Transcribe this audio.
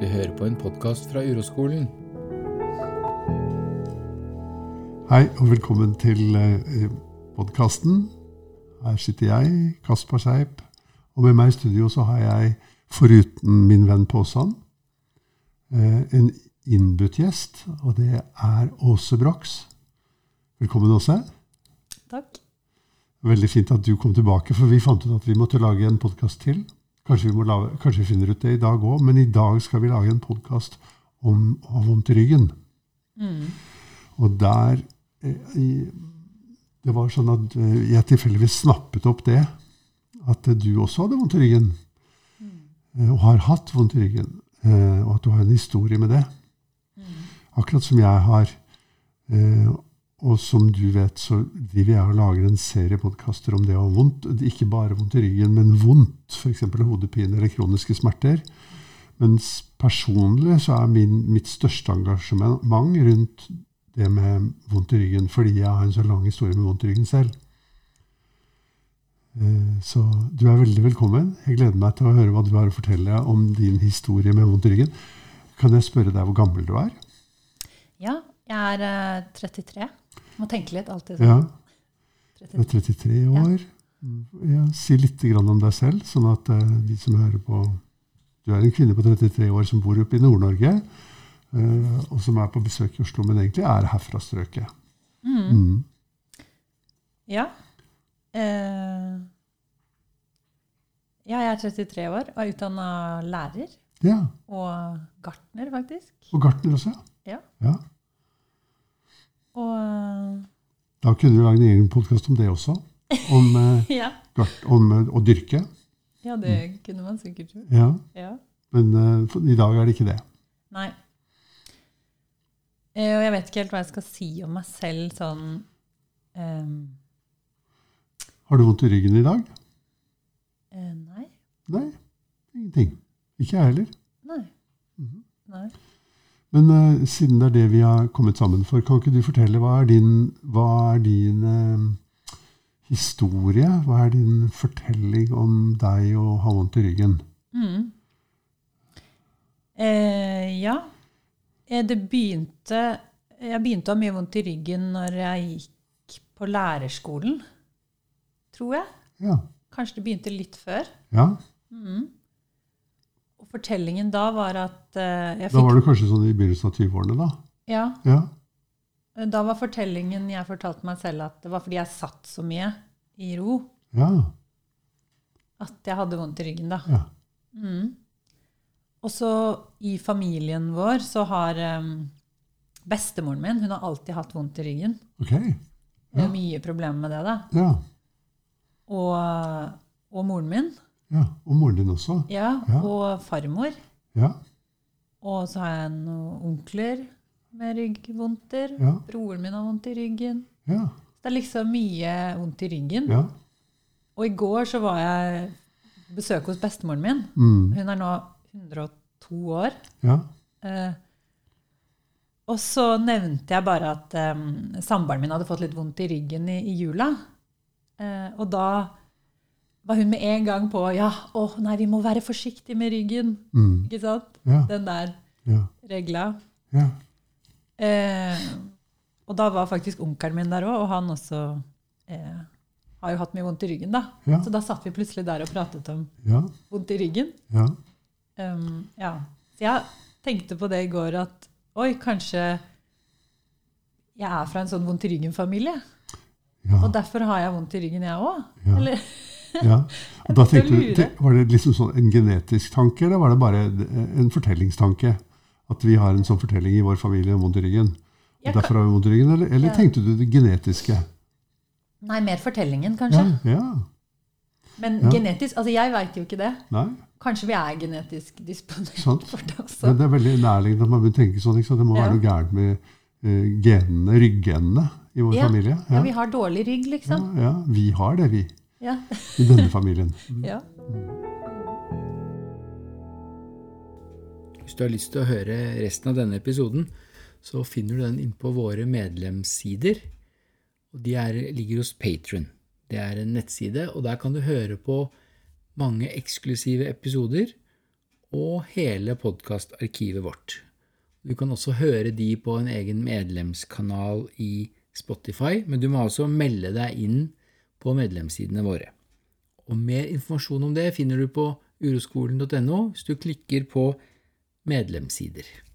Du hører på en podkast fra Uroskolen. Hei og velkommen til podkasten. Her sitter jeg, Kaspar Seip, og med meg i studio så har jeg, foruten min venn Påsan, eh, en innbudt gjest, og det er Åse Brox. Velkommen, Åse. Takk. Veldig fint at du kom tilbake, for vi fant ut at vi måtte lage en podkast til. Kanskje vi, må lage, kanskje vi finner ut det i dag òg, men i dag skal vi lage en podkast om å ha vondt i ryggen. Og der eh, i, Det var sånn at eh, jeg tilfeldigvis snappet opp det. At eh, du også hadde vondt i ryggen. eh, Og har hatt vondt i ryggen. eh, Og at du har en historie med det. Akkurat som jeg har. eh, Og som du vet, så driver jeg og lager en serie podkaster om det å ha vondt. Ikke bare vondt i ryggen, men vondt. F.eks. hodepine eller kroniske smerter. Mens personlig så er min, mitt største engasjement rundt det med vondt i ryggen, fordi jeg har en så lang historie med vondt i ryggen selv. Eh, Så du er veldig velkommen. Jeg gleder meg til å høre hva du har å fortelle om din historie med vondt i ryggen. Kan jeg spørre deg hvor gammel du er? Ja, jeg er eh, 33. Må tenke litt alltid. sånn. Ja, du 33. er 33 år. Ja, si litt grann om deg selv, sånn at eh, de som hører på Du er en kvinne på 33 år som bor oppe i Nord-Norge, eh, og som er på besøk i Oslo, men egentlig er herfra strøket. Mm. Ja. Eh, ja, jeg er 33 år og er utdanna lærer Ja. og gartner, faktisk. Og gartner også, ja. Ja. ja. Og eh, Da kunne du lagd en egen podkast om det også. Om, eh, ja. gart, om eh, å dyrke. ja, det kunne man sikkert gjort. Ja, Ja. men eh, for, i dag er det ikke det. Nei. Eh, og jeg vet ikke helt hva jeg skal si om meg selv sånn eh, Har du vondt i ryggen i dag? eh, Nei. Nei, ingenting. Ikke jeg heller. Nei. Nei. Men eh, siden det er det vi har kommet sammen for, kan ikke du fortelle hva er din, hva er din eh, historie? Hva er din fortelling om deg og å ha vondt i ryggen? Mm. Eh, ja. Eh, Det begynte Jeg begynte å ha mye vondt i ryggen når jeg gikk på lærerskolen, tror jeg. Ja. Kanskje det begynte litt før. ja. Og fortellingen da var at eh, jeg Da fikk var du kanskje sånn i begynnelsen av 20-årene, da? ja, Ja. Da var fortellingen jeg fortalte meg selv at det var fordi jeg satt så mye i ro Ja. at jeg hadde vondt i ryggen da. ja. Mm. Og så i familien vår så har em, bestemoren min Hun har alltid hatt vondt i ryggen. Ok. Det er mye problemer med det, da. Ja. Og, og moren min. ja. Og moren din også? Ja, Ja. Og farmor. Ja. Og så har jeg noen onkler med ryggvondter. Ja. Broren min har vondt i ryggen. Ja. Det er liksom mye vondt i ryggen. Ja. Og i går så var jeg på besøk hos bestemoren min. Mm. Hun er nå 102 år. Ja. Eh, og så nevnte jeg bare at eh, samboeren min hadde fått litt vondt i ryggen i, i jula. Eh, og da var hun med en gang på Ja, å nei, vi må være forsiktige med ryggen. Mm. Ikke sant? Ja. Den der Ja. regla. Ja. Eh, og da var faktisk onkelen min der òg, og han også eh, har jo hatt mye vondt i ryggen, da. Ja. Så da satt vi plutselig der og pratet om Ja. vondt i ryggen. Ja. Um, ja. Så jeg tenkte på det i går at oi, kanskje jeg er fra en sånn vondt i ryggen-familie. Og Ja. derfor har jeg vondt i ryggen, jeg òg. Ja. Eller ja. Og da Jeg begynte å tenkte du, lure. te- Var det liksom sånn en genetisk tanke, eller var det bare en fortellingstanke? At vi har en sånn fortelling i vår familie om vondt i ryggen? Og Jeg kan- derfor har vi vondt i ryggen, eller, eller tenkte du det genetiske? Nei, mer fortellingen, Ja. kanskje. ja. Men Ja. genetisk Altså, jeg veit jo ikke det. Nei. Kanskje vi er genetisk Sant. disponert for det også. Men det er veldig nærliggende at man begynner å tenke sånn. Ikke sant? Det må Ja. være noe gærent med eh, genene, ryggenene, i vår Ja. familie. Ja, vi har dårlig rygg, ja, liksom. ja. Vi har det, vi. Ja. I denne familien. ja. Mm. Hvis du har lyst til å høre resten av denne episoden, så finner du den inn på våre medlemssider. Og de er, ligger hos Patron. Det er en nettside, og der kan du høre på mange eksklusive episoder og hele podkastarkivet vårt. Du kan også høre de på en egen medlemskanal i Spotify, men du må altså melde deg inn på medlemssidene våre. Og mer informasjon om det finner du på uroskolen.no hvis du klikker på medlemssider.